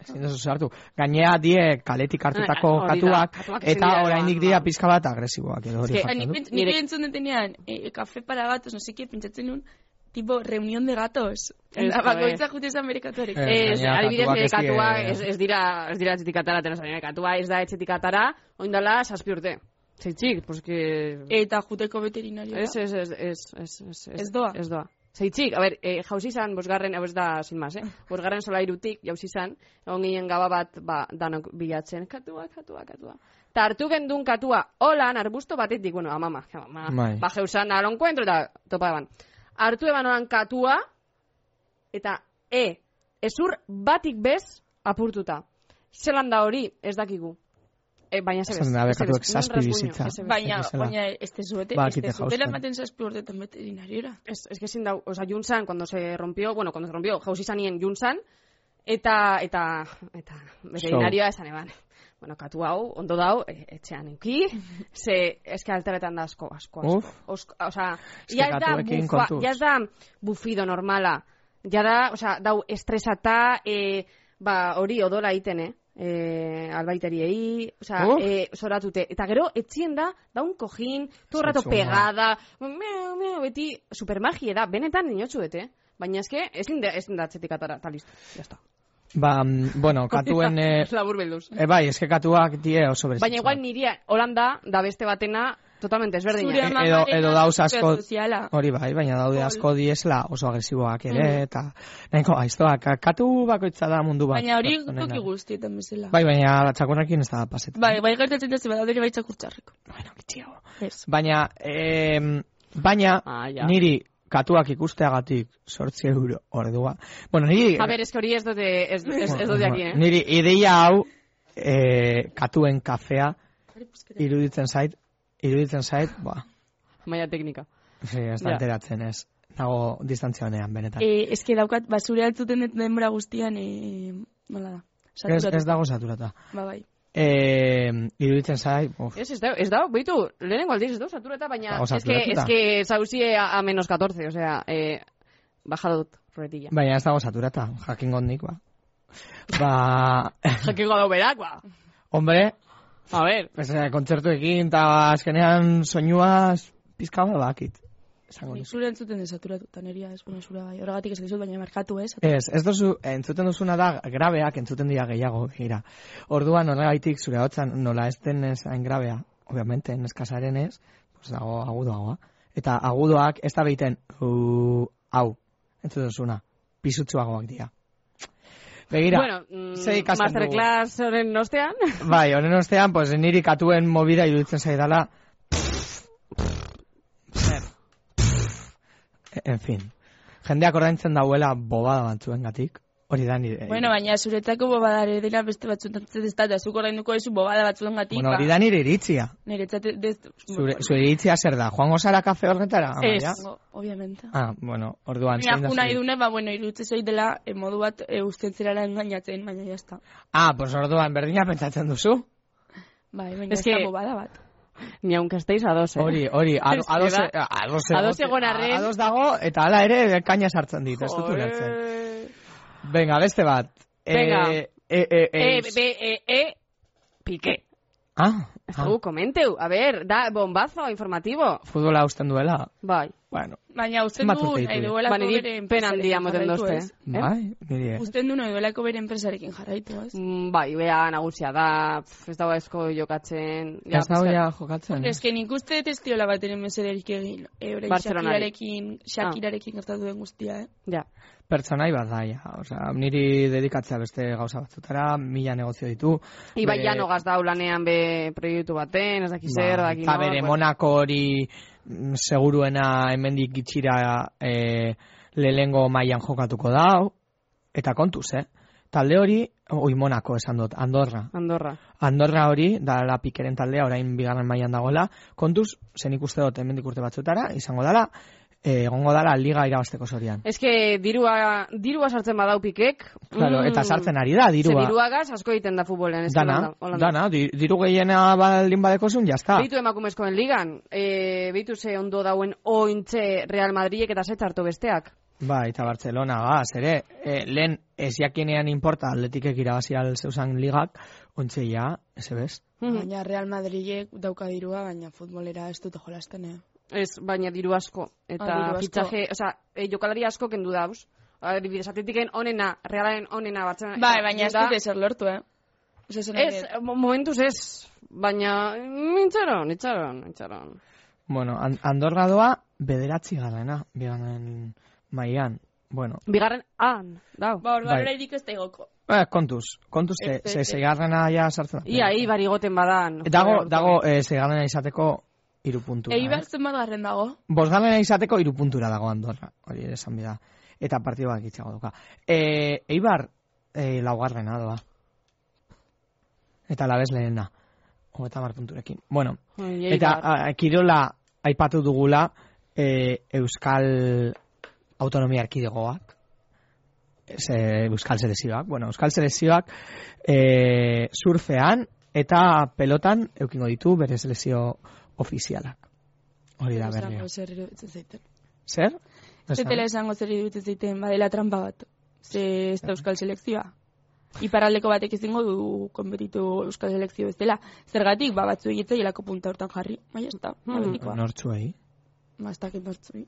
[SPEAKER 2] ezin duzu sartu. Gainea die kaletik hartutako
[SPEAKER 1] Ah, hori da,
[SPEAKER 2] katuak,
[SPEAKER 1] katuak ezin
[SPEAKER 2] eta
[SPEAKER 1] dira,
[SPEAKER 2] oraindik
[SPEAKER 1] ba.
[SPEAKER 2] dira pizka bat agresiboak edo hori
[SPEAKER 3] Es que
[SPEAKER 2] jartzen
[SPEAKER 3] ni,
[SPEAKER 2] du.
[SPEAKER 3] pens- ni
[SPEAKER 1] Nire-
[SPEAKER 3] entzun detenean, eh, kafe para gatos, no sé qué, pentsatzen un tipo reunión de gatos.
[SPEAKER 1] Ez,
[SPEAKER 3] Eta
[SPEAKER 1] joe.
[SPEAKER 3] bakoitza jute esan bere katuarek.
[SPEAKER 2] Eh,
[SPEAKER 1] Ez,
[SPEAKER 2] gainera,
[SPEAKER 1] adibidez, nire
[SPEAKER 2] katuak ez die-
[SPEAKER 1] katua, ez, ez dira, ez dira etxetik atara, tenos, nire katua ez da etxetik atara, oindala, saspi urte. Zeitxik, pues que...
[SPEAKER 3] Eta juteko veterinario.
[SPEAKER 1] Ez, ez, ez, ez, ez, ez,
[SPEAKER 3] Ez doa.
[SPEAKER 1] Ez doa. Zeitxik, a ber, e, jauzi izan, bosgarren, hau ez da, sin
[SPEAKER 3] (laughs)
[SPEAKER 1] mas, eh? Bosgarren sola irutik, jauzi izan, egon ginen gaba bat, ba, danok bilatzen, katua, katua, katua. Ta hartu gendun katua, holan, arbusto batetik, bueno, amama, amama,
[SPEAKER 2] Bai.
[SPEAKER 1] ba, jeusan, alo encuentro, eta topa eban. Hartu eban holan katua, eta e, ezur batik bez, apurtuta. Zelan da hori, ez dakigu. E, baina zebez.
[SPEAKER 2] Esan da, be,
[SPEAKER 1] ez zebez,
[SPEAKER 2] katuak
[SPEAKER 1] non
[SPEAKER 2] zazpi
[SPEAKER 1] rasguño,
[SPEAKER 2] bizitza.
[SPEAKER 1] ez zebez.
[SPEAKER 3] Baina,
[SPEAKER 2] Bezala.
[SPEAKER 3] baina, ez tezuete,
[SPEAKER 2] Ba,
[SPEAKER 3] ez
[SPEAKER 2] kite
[SPEAKER 3] tezuetela
[SPEAKER 2] jausten.
[SPEAKER 3] ematen zazpi urtetan veterinariora.
[SPEAKER 1] Es, es que sin dau, o sea, Junsan cuando se rompió, bueno, cuando se rompió, jauzi zanien Junsan, eta, eta, eta, veterinarioa esan eban. Bueno, katu hau, ondo dau, e, etxean
[SPEAKER 2] (laughs)
[SPEAKER 1] euki, ze, eske alteretan da asko, asko, asko.
[SPEAKER 2] Uf.
[SPEAKER 1] Osko, o sea,
[SPEAKER 2] Eske
[SPEAKER 1] ja ez da,
[SPEAKER 2] katuekin
[SPEAKER 1] bufa,
[SPEAKER 2] kontuz.
[SPEAKER 1] ja ez da bufido normala, ja da, o sea, dau estresata, e, ba, hori odola egiten, eh? E, albaiteriei, o sea,
[SPEAKER 2] Uf.
[SPEAKER 1] eh, zoratute. Eta gero, etxien da, da un kojin, todo el rato
[SPEAKER 2] Zentzua.
[SPEAKER 1] pegada, meo, meo, beti, supermagie da, benetan dinotxuet, eh? Baina eske, ezin da, ezin da atzetik atara, eta listo, ya está.
[SPEAKER 2] Ba, mm,
[SPEAKER 3] (laughs)
[SPEAKER 2] bueno, katuen... Eh,
[SPEAKER 1] Labur belduz.
[SPEAKER 2] eh, bai, eske katuak die oso berezitza.
[SPEAKER 1] Baina igual niria, Holanda, da beste batena, totalmente
[SPEAKER 2] Zure-
[SPEAKER 1] ezberdina.
[SPEAKER 2] E- edo- edo dauz asko-
[SPEAKER 3] Soziala.
[SPEAKER 2] Hori bai, baina daude
[SPEAKER 3] Ol. Mm.
[SPEAKER 2] asko diesla oso agresiboak ere,
[SPEAKER 1] Mhm.
[SPEAKER 2] eta nahiko gaiztoak, ka- katu bakoitza da mundu bat.
[SPEAKER 3] Baina hori
[SPEAKER 2] pertsonena.
[SPEAKER 3] toki guztietan bezala.
[SPEAKER 2] Bai, baina txakurrekin ez da pasetan.
[SPEAKER 3] Bai, bai gertatzen da zeba daudere baitzak urtzarreko.
[SPEAKER 2] Bueno, kitxiago.
[SPEAKER 3] Ez.
[SPEAKER 2] Baina, eh, baina
[SPEAKER 1] Ah, ja.
[SPEAKER 2] niri katuak ikusteagatik sortzi euro ordua. Bueno, niri,
[SPEAKER 1] eh. A ver, eske hori ez dute, ez, eh. ez, ez dute
[SPEAKER 2] bueno,
[SPEAKER 1] jakin, eh?
[SPEAKER 2] niri ideia hau eh, katuen kafea
[SPEAKER 3] Elkarrizketa.
[SPEAKER 2] Iruditzen zait, iruditzen zait, ba,
[SPEAKER 1] maia teknika.
[SPEAKER 2] sí, ez da
[SPEAKER 1] Ja.
[SPEAKER 2] enteratzen, ez. Dago distantzia honean, benetan.
[SPEAKER 3] Eh, ez que daukat, basure altzuten dut denbora guztian, eh, nola da.
[SPEAKER 2] Ez,
[SPEAKER 3] Saturatu.
[SPEAKER 2] ez dago saturata.
[SPEAKER 3] Ba, bai.
[SPEAKER 2] Eh, iruditzen zait, uf,
[SPEAKER 1] Ez, ez da, ez da, beitu, lehenengo aldiz, ez da, satureta, baina,
[SPEAKER 2] Dago
[SPEAKER 1] es que,
[SPEAKER 2] saturatuta.
[SPEAKER 1] es que zauzie a, a menos 14, o sea, eh, bajado dut ruedilla.
[SPEAKER 2] baina ez dago saturata, jakin gondik, ba. Ba,
[SPEAKER 1] (laughs)
[SPEAKER 2] (laughs)
[SPEAKER 1] Jakingo dau berak, ba.
[SPEAKER 2] hombre,
[SPEAKER 1] A ver,
[SPEAKER 2] pues, eh, kontzertuekin eta azkenean soinuaz pizka bat bakit. Esango
[SPEAKER 1] Bai.
[SPEAKER 3] Nik
[SPEAKER 2] nizu.
[SPEAKER 3] zure entzuten dut saturatuta, neria ez bueno, zura bai. Horregatik ez dizut, baina markatu ez.
[SPEAKER 2] Ez, ez duzu, entzuten duzuna da, grabeak entzuten dira gehiago, gira. Orduan, nola gaitik, zure hotzan, nola ez denez hain grabea, obviamente, neskazaren ez, pues dago agudoagoa. Eta agudoak ez da behiten, uh, hau, entzuten duzuna, pisutsuagoak dira. Begira,
[SPEAKER 1] bueno,
[SPEAKER 2] ze
[SPEAKER 1] mm,
[SPEAKER 2] ikasten dugu?
[SPEAKER 1] masterclass horren ostean, (laughs)
[SPEAKER 2] Bai, honen ostean, pues niri katuen movida iruditzen zaidala. E- en fin. Jendeak ordaintzen dauela bobada batzuengatik. Hori da nire. eh,
[SPEAKER 3] Bueno, baina zuretzako bobadare dela beste batzutan ez da, zuk ordainduko duzu bobada batzuen gatik.
[SPEAKER 1] ba.
[SPEAKER 3] ba,
[SPEAKER 2] Bueno, hori da nire iritzia.
[SPEAKER 3] Niretzat ez...
[SPEAKER 2] Zure, zure iritzia zer da? Joango zara kafe horretara?
[SPEAKER 1] Ez.
[SPEAKER 2] Amaia?
[SPEAKER 3] Bueno, Obviamente.
[SPEAKER 2] Ah, bueno, orduan
[SPEAKER 3] Mira,
[SPEAKER 2] zein da
[SPEAKER 3] nahi
[SPEAKER 2] zure-
[SPEAKER 3] dune, ba, bueno, irutze zoi dela eh, modu bat eh, usten zerara engainatzen, baina jazta.
[SPEAKER 2] Ah, pues orduan berdina pentsatzen duzu?
[SPEAKER 3] Bai, baina
[SPEAKER 1] Es
[SPEAKER 3] ez da
[SPEAKER 1] que-
[SPEAKER 3] bobada bat.
[SPEAKER 1] ni aunque estéis a dos, eh.
[SPEAKER 2] Hori, hori, ado-
[SPEAKER 1] (laughs) Ez que
[SPEAKER 2] ados
[SPEAKER 1] da-
[SPEAKER 2] eh, ados
[SPEAKER 1] ados
[SPEAKER 2] egote-
[SPEAKER 1] egon arren.
[SPEAKER 2] ados dago eta hala ere kaina sartzen dit, ez dut
[SPEAKER 1] Joder. Eh,
[SPEAKER 2] ulertzen. Venga, beste bat.
[SPEAKER 1] Venga.
[SPEAKER 2] Eh, eh, eh, eh,
[SPEAKER 1] E, B, E, E, Piqué.
[SPEAKER 2] Ah,
[SPEAKER 1] Ez
[SPEAKER 2] ah,
[SPEAKER 1] dugu, komenteu, a ver, da, bombazo, informativo.
[SPEAKER 2] futbola usten duela.
[SPEAKER 1] Bai,
[SPEAKER 2] Bueno,
[SPEAKER 3] Baina usten
[SPEAKER 2] Zenbat
[SPEAKER 3] du
[SPEAKER 2] urte
[SPEAKER 3] nahi
[SPEAKER 2] ditu?
[SPEAKER 3] duelako
[SPEAKER 1] Ba, niri
[SPEAKER 3] bere
[SPEAKER 1] pena
[SPEAKER 3] enpresarekin
[SPEAKER 1] handia moten
[SPEAKER 3] jarraitu,
[SPEAKER 1] dozte,
[SPEAKER 3] ez?
[SPEAKER 1] eh?
[SPEAKER 2] bai, nire.
[SPEAKER 3] Usten du nahi duelako bere enpresarekin jarraitu, ez?
[SPEAKER 1] Mm, bai, bea nagusia da, pf, ez dago asko jokatzen.
[SPEAKER 2] Ez dago
[SPEAKER 1] pizkat-
[SPEAKER 2] ja jokatzen.
[SPEAKER 3] Ez que nik uste ez diola bateren mesederik egin. Euren
[SPEAKER 1] Barcelonari.
[SPEAKER 3] Shakirarekin, Shakirarekin gertatu den guztia, eh?
[SPEAKER 1] Ja.
[SPEAKER 2] Pertsonai bat daia. Osea, niri dedikatzea beste gauza batzutara, mila negozio ditu.
[SPEAKER 1] Ibai
[SPEAKER 2] Bere-
[SPEAKER 1] Janogaz dau lanean be proiektu baten, ez dakiz zer,
[SPEAKER 2] Ba,
[SPEAKER 1] dakiz
[SPEAKER 2] eta bere Monako hori mm, seguruena hemendik itxira eh, lehengo mailan jokatuko dau. Eta kontuz, eh? Talde hori, oi Monako esan dut, Andorra.
[SPEAKER 1] Andorra.
[SPEAKER 2] Andorra hori, da la pikeren taldea, orain bigarren mailan dagoela, kontuz, zen ikuste dut, hemendik urte batzutara, izango dala, eh, egongo dala liga irabazteko zorian.
[SPEAKER 1] Ez que dirua, dirua sartzen badau pikek.
[SPEAKER 2] Claro, eta sartzen ari da, dirua.
[SPEAKER 1] Mm. Ze dirugaz asko egiten da futbolean. Ez
[SPEAKER 2] dana, dana, di- diru gehiena baldin badekozun,
[SPEAKER 3] Ah.
[SPEAKER 2] jazta.
[SPEAKER 1] Beitu emakumezkoen ligan, e, beitu ze ondo dauen ointxe Real Madridek eta zetz hartu besteak.
[SPEAKER 2] Ba, eta Barcelona, gaz, ere, eh, lehen ez jakinean inporta atletikek irabazi al zeusan ligak, ontxe ja, ez ebes.
[SPEAKER 1] Mhm.
[SPEAKER 3] Baina Real Madridek dauka dirua, baina futbolera ez dute jolasten, eh?
[SPEAKER 1] Ez, baina diru asko.
[SPEAKER 3] Ah, diru
[SPEAKER 1] Eta
[SPEAKER 3] asko.
[SPEAKER 1] fitxaje, oza, e, jokalari asko kendu dauz. Adibidez, atletiken onena, realaren onena batzen.
[SPEAKER 3] Bai,
[SPEAKER 1] eta
[SPEAKER 3] baina ez
[SPEAKER 1] da-
[SPEAKER 3] dute ezer lortu, eh? Ez esan
[SPEAKER 1] Ez, mo- momentuz ez. Baina, mm, nintxaron, nintxaron, nintxaron.
[SPEAKER 2] Bueno, An- Andorra doa, bederatzi garrena, bigarren mailan. Bueno,
[SPEAKER 1] Bigarren, han, dau.
[SPEAKER 3] Ba, hor,
[SPEAKER 2] Bai.
[SPEAKER 3] balora iriko ez da igoko.
[SPEAKER 2] eh, kontuz, kontuz, ze,
[SPEAKER 3] Ez, ez,
[SPEAKER 2] ze,
[SPEAKER 3] ez.
[SPEAKER 2] zeigarrena ja sartzen. da.
[SPEAKER 1] Ia, eibar igoten badan.
[SPEAKER 2] Dago, dago, eh, zeigarrena izateko iru puntura.
[SPEAKER 3] Eibar
[SPEAKER 2] Eh?
[SPEAKER 3] zenbat garren dago?
[SPEAKER 2] Bosgarrena izateko iru puntura dago Andorra, hori ere esan bida. Eta partidu bat gitzago duka. E, Eibar, e, laugarrena doa. Eta labez lehena. Hogeta mar punturekin. Bueno,
[SPEAKER 1] Ai,
[SPEAKER 2] eta
[SPEAKER 1] Eibar.
[SPEAKER 2] a, kirola aipatu dugula e, Euskal Autonomia Erkidegoak. Ze, Euskal Selezioak. Bueno, Euskal Selezioak e, surfean eta pelotan eukingo ditu bere selezio ofizialak. Hori da berria.
[SPEAKER 3] Esango zer iruditzen zaiten.
[SPEAKER 2] Zer?
[SPEAKER 3] Ez dela esango zer iruditzen zaiten, badela trampa bat. Ze ez da euskal selekzioa. Iparraldeko batek ezingo du konbetitu euskal selekzio bezala. Zergatik, ba, batzu egitza jelako punta hortan jarri. Baina ez da,
[SPEAKER 1] Hmm.
[SPEAKER 3] maletikoa.
[SPEAKER 2] Nortzuei.
[SPEAKER 3] Ba, ez dakit nortzui.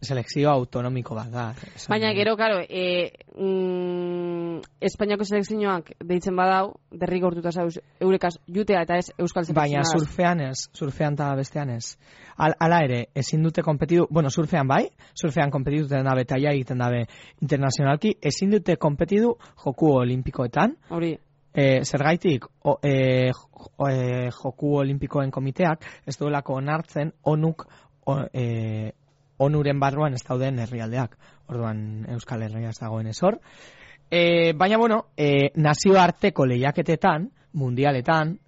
[SPEAKER 2] Selekzio autonomiko bat da. esan
[SPEAKER 1] Baina
[SPEAKER 2] nahi.
[SPEAKER 1] gero, karo, e, mm, Espainiako selekzioak deitzen badau, derrik hortuta zauz, eurekaz jutea eta ez euskal
[SPEAKER 2] Baina
[SPEAKER 1] selekzioaz.
[SPEAKER 2] surfean ez, surfean eta bestean ez. Al, ala ere, ezin dute kompetitu, bueno, surfean bai, surfean kompetitu duten dabe eta ja egiten dabe internazionalki, ezin dute kompetitu joku olimpikoetan,
[SPEAKER 1] Hori,
[SPEAKER 2] E, zergaitik, o, e, jo- o, e, joku olimpikoen komiteak ez duelako onartzen onuk o, e, onuren barruan ez dauden herrialdeak. Orduan Euskal Herria ez dagoen ez hor. E, baina, bueno, e, nazioarteko lehiaketetan, mundialetan,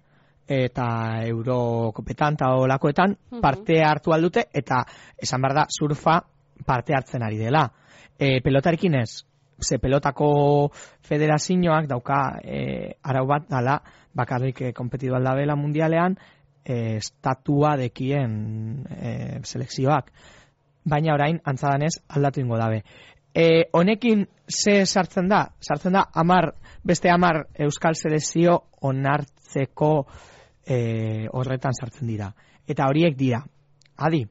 [SPEAKER 2] eta eurokopetan eta olakoetan parte hartu aldute eta esan behar da surfa parte hartzen ari dela. E, pelotarekin ez, ze pelotako federazioak dauka e, arau bat dala bakarrik e, kompetitu aldabela mundialean e, estatua dekien e, selekzioak. Baina orain antzadanez aldatu ingo dabe. E, honekin ze sartzen da? Sartzen da amar, beste amar euskal selekzio onartzeko e, horretan sartzen dira. Eta horiek dira. Adi,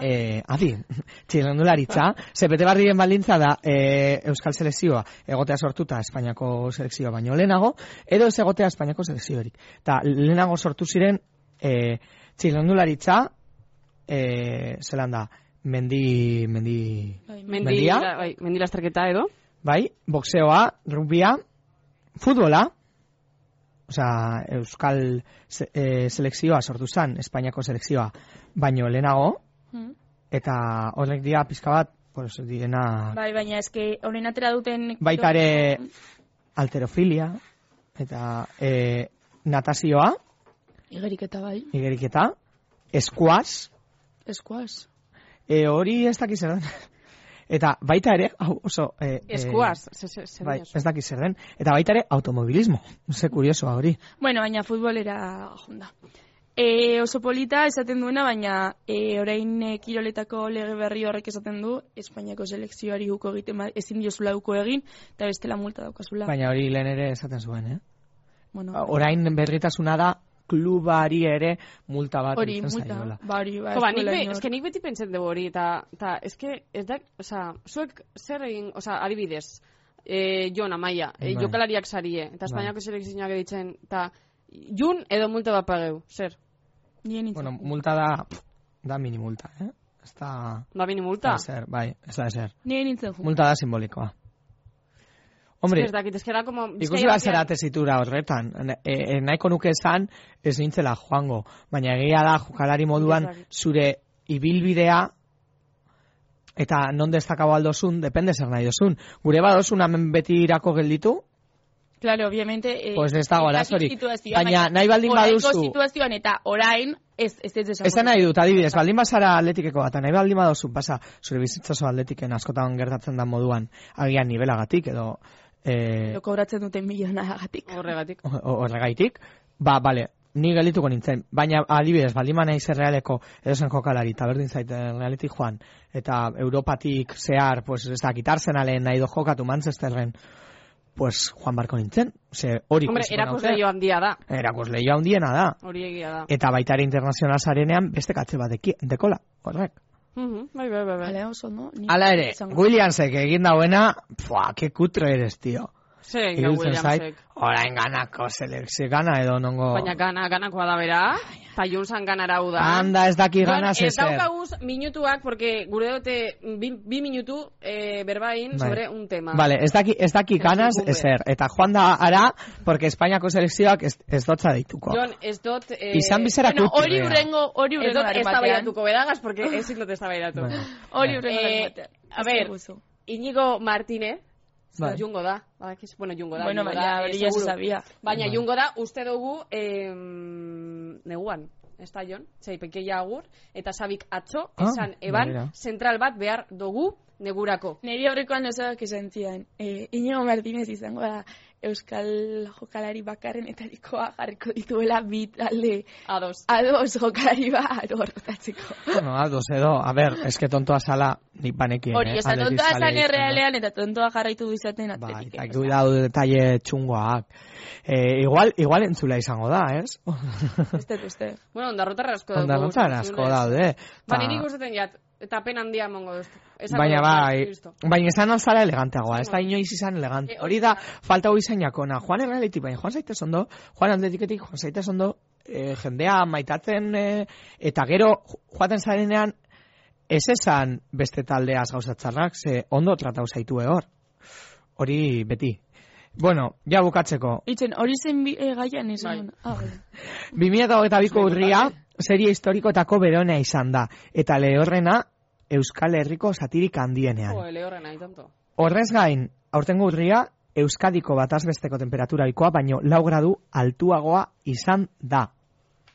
[SPEAKER 2] eh, adi, (laughs) txirrendularitza, zepete barri den baldintza da eh, Euskal Selekzioa egotea sortuta Espainiako selekzioa baino lehenago, edo ez egotea Espainiako selekziorik. Eta lehenago sortu ziren eh, txirrendularitza, eh, zelan da, mendi, mendi,
[SPEAKER 3] Bai,
[SPEAKER 1] Mendi,
[SPEAKER 2] mendia,
[SPEAKER 1] la- bai, mendi lasterketa edo?
[SPEAKER 2] bai, boxeoa, rugbia, futbola, osea, Euskal se, eh, selekzioa sortu zan, Espainiako selekzioa, baino lehenago,
[SPEAKER 3] Mm.
[SPEAKER 2] eta horrek dira pizka bat, pues, direna
[SPEAKER 3] Bai, baina eske orain atera duten
[SPEAKER 2] baita ere alterofilia eta e, natazioa,
[SPEAKER 3] Igeriketa bai,
[SPEAKER 2] igeriketa, eskuaz,
[SPEAKER 3] eskuaz.
[SPEAKER 2] e, hori ez dakiz zer den. (laughs) Eta baita ere, hau oso... E, e,
[SPEAKER 1] Eskuaz, ze, ze, ze
[SPEAKER 2] bai,
[SPEAKER 1] diozu.
[SPEAKER 2] ez dakiz zer den. Eta baita ere automobilismo. Ze kuriosoa hori.
[SPEAKER 3] Bueno, baina futbolera jonda. E, oso polita esaten duena, baina e, orain e, kiroletako lege berri horrek esaten du, Espainiako selekzioari uko egiten ba- ezin diozula uko egin, eta bestela multa daukazula.
[SPEAKER 2] Baina hori lehen ere esaten zuen, eh?
[SPEAKER 3] bueno,
[SPEAKER 2] Orain berritasuna da klubari ere multa bat
[SPEAKER 3] hori,
[SPEAKER 2] egiten
[SPEAKER 3] multa.
[SPEAKER 2] zaiola.
[SPEAKER 3] Ba, hori, ba,
[SPEAKER 1] Jo, ba,
[SPEAKER 3] ez
[SPEAKER 1] nik,
[SPEAKER 3] duela
[SPEAKER 1] be,
[SPEAKER 3] inor-
[SPEAKER 1] eske nik beti pentsen dugu hori, eta, eta eske, ez da, oza, zuek zer egin, oza, adibidez, e, Jon Amaia, e,
[SPEAKER 2] Bai.
[SPEAKER 1] jokalariak sarie, eta Espainiako selekzioak editzen, eta Jun edo multa bat pageu, zer?
[SPEAKER 3] Nien nintzen.
[SPEAKER 2] Bueno, multa da, da mini multa, eh? Ez da...
[SPEAKER 1] Da Ba, bini multa?
[SPEAKER 2] Da. Ezer, bai, ez da ezer.
[SPEAKER 3] Nien nintzen ju.
[SPEAKER 2] Multa da simbolikoa. Hombre,
[SPEAKER 1] Hombre, ez dakit, eskera como...
[SPEAKER 2] ikusi bat zera tesitura horretan. E, e, nahiko nuke esan, ez nintzela joango. Baina egia da, jokalari moduan,
[SPEAKER 1] Ez dakit.
[SPEAKER 2] zure ibilbidea, eta non destakabo aldozun, depende zer nahi dozun. Gure badozun hemen beti irako gelditu,
[SPEAKER 3] Claro, obviamente... Eh,
[SPEAKER 2] Pues ez dago
[SPEAKER 3] ez dakit
[SPEAKER 2] arazorik.
[SPEAKER 3] situazioa,
[SPEAKER 2] Baina nahi baldin
[SPEAKER 3] oraingo
[SPEAKER 2] baduzu-
[SPEAKER 3] situazioan eta orain, ez, ez ez desagoen.
[SPEAKER 2] Esan nahi dut, adibidez, baldin bazara atletikeko bat, nahi baldin badozu, pasa, zure bizitzazo atletiken askotan gertatzen da moduan, agian nivelagatik, edo eh,
[SPEAKER 3] Lo kobratzen duten milionagatik.
[SPEAKER 1] Horregatik.
[SPEAKER 2] o- o- horregatik, ba, bale, ni geldituko nintzen, baina adibidez, baldin ba naiz errealeko edozen jokalari, eta berdin zait errealetik joan, eta Europatik zehar, pues ez dakit arsenalen nahi do jokatu Manchesterren, pues Juan Barko nintzen, ze hori
[SPEAKER 1] Hombre,
[SPEAKER 2] ikusiko
[SPEAKER 1] erakusle
[SPEAKER 2] naute.
[SPEAKER 1] jo handia da,
[SPEAKER 2] Erakusleioa handiena da,
[SPEAKER 1] hori egia da.
[SPEAKER 2] eta baita ere internazional zarenean beste katze bat deki- dekola, horrek.
[SPEAKER 1] Mhm, Bai, bai, bai, bai.
[SPEAKER 3] Hala oso, no? Ni-
[SPEAKER 2] Hala ere,
[SPEAKER 3] izango.
[SPEAKER 2] Williamsek egin dauena, pua, que kutre eres, tío.
[SPEAKER 1] Zer, egin da
[SPEAKER 2] Iruditzen zait,
[SPEAKER 1] Williamsek.
[SPEAKER 2] orain ganako selekzio gana edo nongo...
[SPEAKER 1] Baina gana, ganakoa da bera, eta Junsan ganarau da.
[SPEAKER 2] Anda ez daki
[SPEAKER 1] Jon,
[SPEAKER 2] gana
[SPEAKER 1] ez
[SPEAKER 2] zezer.
[SPEAKER 1] daukaguz minutuak, porque gure dute mm, bi, bi minutu eh, berbain
[SPEAKER 2] Bai.
[SPEAKER 1] sobre un tema.
[SPEAKER 2] Vale, ez daki, ez daki
[SPEAKER 1] Ez
[SPEAKER 2] ganas
[SPEAKER 1] dugu
[SPEAKER 2] ezer. Eta joan da ara, porque Espainiako selekzioak ez, ez dotza deituko.
[SPEAKER 1] Jon, ez dut... Eh,
[SPEAKER 2] Izan bizera
[SPEAKER 3] Bueno,
[SPEAKER 2] kutre.
[SPEAKER 3] hori urrengo, hori
[SPEAKER 1] Ez
[SPEAKER 3] urrengo
[SPEAKER 1] dut ez tabaidatuko beragaz, porque ezin dut ez tabaidatu.
[SPEAKER 2] Bueno,
[SPEAKER 3] Hori urrengo
[SPEAKER 1] Eh,
[SPEAKER 3] larun batean.
[SPEAKER 1] a
[SPEAKER 3] Ez
[SPEAKER 1] ber,
[SPEAKER 3] diguzu.
[SPEAKER 1] Inigo Martínez,
[SPEAKER 2] Bai.
[SPEAKER 1] jungo da. Badakiz, bueno, jungo da.
[SPEAKER 3] Bueno,
[SPEAKER 1] jungo
[SPEAKER 3] baina
[SPEAKER 1] da,
[SPEAKER 3] hori
[SPEAKER 1] eh,
[SPEAKER 3] ya se
[SPEAKER 1] seguru.
[SPEAKER 3] sabía.
[SPEAKER 1] Baina
[SPEAKER 2] Bai.
[SPEAKER 1] jungo da, uste dugu, eh, neguan. Ez da, Jon? Zei, pekeia agur, eta sabik atzo,
[SPEAKER 2] Ah,
[SPEAKER 1] esan eban,
[SPEAKER 2] badira.
[SPEAKER 1] zentral bat behar dugu negurako.
[SPEAKER 3] Neri aurrekoan osak esan zidan, eh, Iñigo Martínez izango da Euskal jokalari bakarren etarikoa jarriko dituela bi talde
[SPEAKER 1] Ados.
[SPEAKER 3] ados jokalari bat hortatzeko.
[SPEAKER 2] Bueno, ados edo, a ber, eske tontoa zala nik banekien,
[SPEAKER 3] Hori,
[SPEAKER 2] eh?
[SPEAKER 3] esan
[SPEAKER 2] Atleti
[SPEAKER 3] tontoa
[SPEAKER 2] zalea
[SPEAKER 3] esan
[SPEAKER 2] izan da.
[SPEAKER 3] errealean eta tontoa jarraitu du izaten eh,
[SPEAKER 2] Bai,
[SPEAKER 3] atletik.
[SPEAKER 2] eta cuidado detalle txungoak. Eh, igual, igual entzula izango da, ez?
[SPEAKER 3] Beste, beste.
[SPEAKER 1] Bueno, ondarrotarra asko dugu.
[SPEAKER 2] Ondarrotan asko daude.
[SPEAKER 1] Ba,
[SPEAKER 2] Ta-
[SPEAKER 1] niri gustatzen jat, eta pena handia emango duztu. Esako
[SPEAKER 2] Baina
[SPEAKER 1] dut,
[SPEAKER 2] bai,
[SPEAKER 1] listo.
[SPEAKER 2] baina izan alzara eleganteagoa, ez da inoiz izan elegante.
[SPEAKER 1] E, hori
[SPEAKER 2] Hori da, falta hori zainakona, joan errealetik, baina joan zaitez ondo, joan atletiketik, joan zaitez ondo, eh, jendea maitatzen, eh, eta gero jo- joaten zarenean, ez esan beste taldeaz gauzatzarrak, ze ondo tratau zaitu eh, hor. Hori beti. Bueno, ja bukatzeko.
[SPEAKER 3] Itzen, hori zen bi, eh, gaian esan.
[SPEAKER 1] Bai.
[SPEAKER 3] Ah, bueno.
[SPEAKER 2] 2008ko urria, serie historikoetako beronea izan da, eta lehorrena Euskal Herriko satirik handienean.
[SPEAKER 1] Jo, lehorren nahi, tonto.
[SPEAKER 2] Horrez gain, aurtengo urria, Euskadiko batazbesteko temperaturalikoa baino lau gradu altuagoa izan da.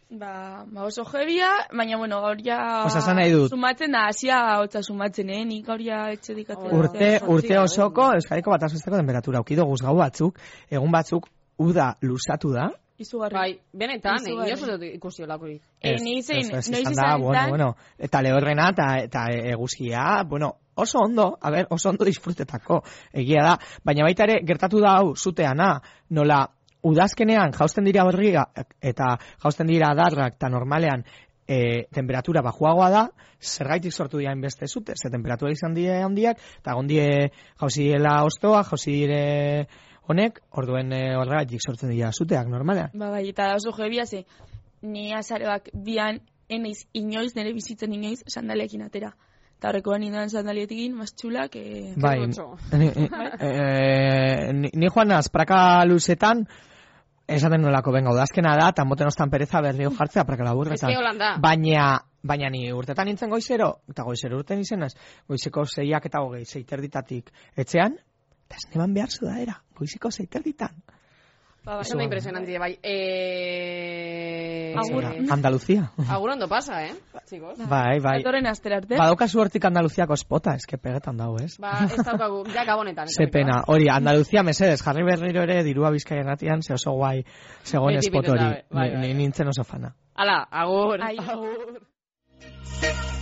[SPEAKER 3] Ba, ba oso jebia, baina bueno, gaur ja...
[SPEAKER 2] Osa, esan nahi dut.
[SPEAKER 3] Sumatzen da, hasia hotza sumatzen, eh? Nik gaur ja etxedik atera.
[SPEAKER 2] Urte,
[SPEAKER 1] Oso
[SPEAKER 2] urte
[SPEAKER 1] txiga,
[SPEAKER 2] osoko Euskadiko batazbesteko temperatura ukido guzgau batzuk, egun batzuk uda luzatu da.
[SPEAKER 3] Izugarri.
[SPEAKER 1] Bai, benetan, eh,
[SPEAKER 3] Izugarri.
[SPEAKER 1] inoiz ez dut ikusi olakorik.
[SPEAKER 3] Eh, ni zein,
[SPEAKER 2] ez, ez,
[SPEAKER 3] noiz
[SPEAKER 2] izan
[SPEAKER 3] izan
[SPEAKER 2] da,
[SPEAKER 3] da,
[SPEAKER 2] bueno, bueno, eta lehorrena eta, eta eh, eguzkia, bueno, oso ondo, a ber, oso ondo disfrutetako, egia da, baina baita ere gertatu da hau zuteana, nola udazkenean jausten dira berriga eta jausten dira darrak eta normalean e, temperatura bajuagoa da, zergaitik sortu dira beste zute, ze temperatura izan dira handiak, eta gondie jauzi dela ostoa, jauzi dire honek, orduen e, horregatik sortzen dira zuteak normalean.
[SPEAKER 3] Ba, bai, eta oso jebia, ze, ni azaroak bian, eneiz inoiz, nire bizitzen inoiz, sandalekin atera. Eta horrekoan ninduan sandalietekin, mas txulak, eh,
[SPEAKER 2] Bai,
[SPEAKER 1] Zorrotxo.
[SPEAKER 2] (laughs) ni, eh, ni, ni joan naz, praka luzetan, esaten nolako, benga, udazkena da, tan boten ostan pereza berrio jartzea praka laburretan.
[SPEAKER 1] Ez que holan
[SPEAKER 2] Ba,
[SPEAKER 1] da.
[SPEAKER 2] Baina, baina ni urtetan nintzen goizero, eta goizero urten izenaz, goizeko zeiak eta hogei, zeiterditatik etxean, eta ez neman behar zudaera, goizeko zeiterditan.
[SPEAKER 3] ba,
[SPEAKER 1] Eso da
[SPEAKER 3] bai.
[SPEAKER 1] impresionante, bai. Eh...
[SPEAKER 3] Agur.
[SPEAKER 1] eh,
[SPEAKER 2] Andaluzia.
[SPEAKER 1] Agur ondo pasa, eh, chicos?
[SPEAKER 2] bai, bai.
[SPEAKER 3] Datorren astera arte.
[SPEAKER 2] Badoka suertik Andaluziako espota, eske pegetan dago, ez?
[SPEAKER 1] Ba, ez daukagu, ja gabonetan.
[SPEAKER 2] Ze pena, hori, Andaluzia mesedes, jarri berriro ere dirua bizkaian atian, ze oso guai, zegoen
[SPEAKER 1] Beti
[SPEAKER 2] espot
[SPEAKER 1] pintuz
[SPEAKER 2] hori,
[SPEAKER 1] dabe, bai,
[SPEAKER 2] Ni-
[SPEAKER 1] bai,
[SPEAKER 2] ni
[SPEAKER 1] bai.
[SPEAKER 2] nintzen oso fana.
[SPEAKER 1] Ala, agur.
[SPEAKER 3] Ai.
[SPEAKER 1] Agur.